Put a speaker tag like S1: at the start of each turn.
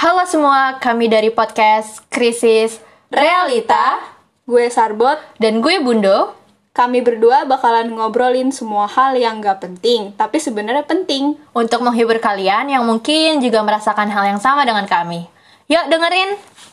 S1: Halo semua, kami dari podcast Krisis Realita
S2: Gue Sarbot,
S1: dan gue Bundo.
S2: kami berdua bakalan ngobrolin semua hal yang gak penting, tapi sebenarnya penting.
S1: Untuk menghibur kalian yang mungkin juga merasakan hal yang sama dengan kami. Yuk dengerin!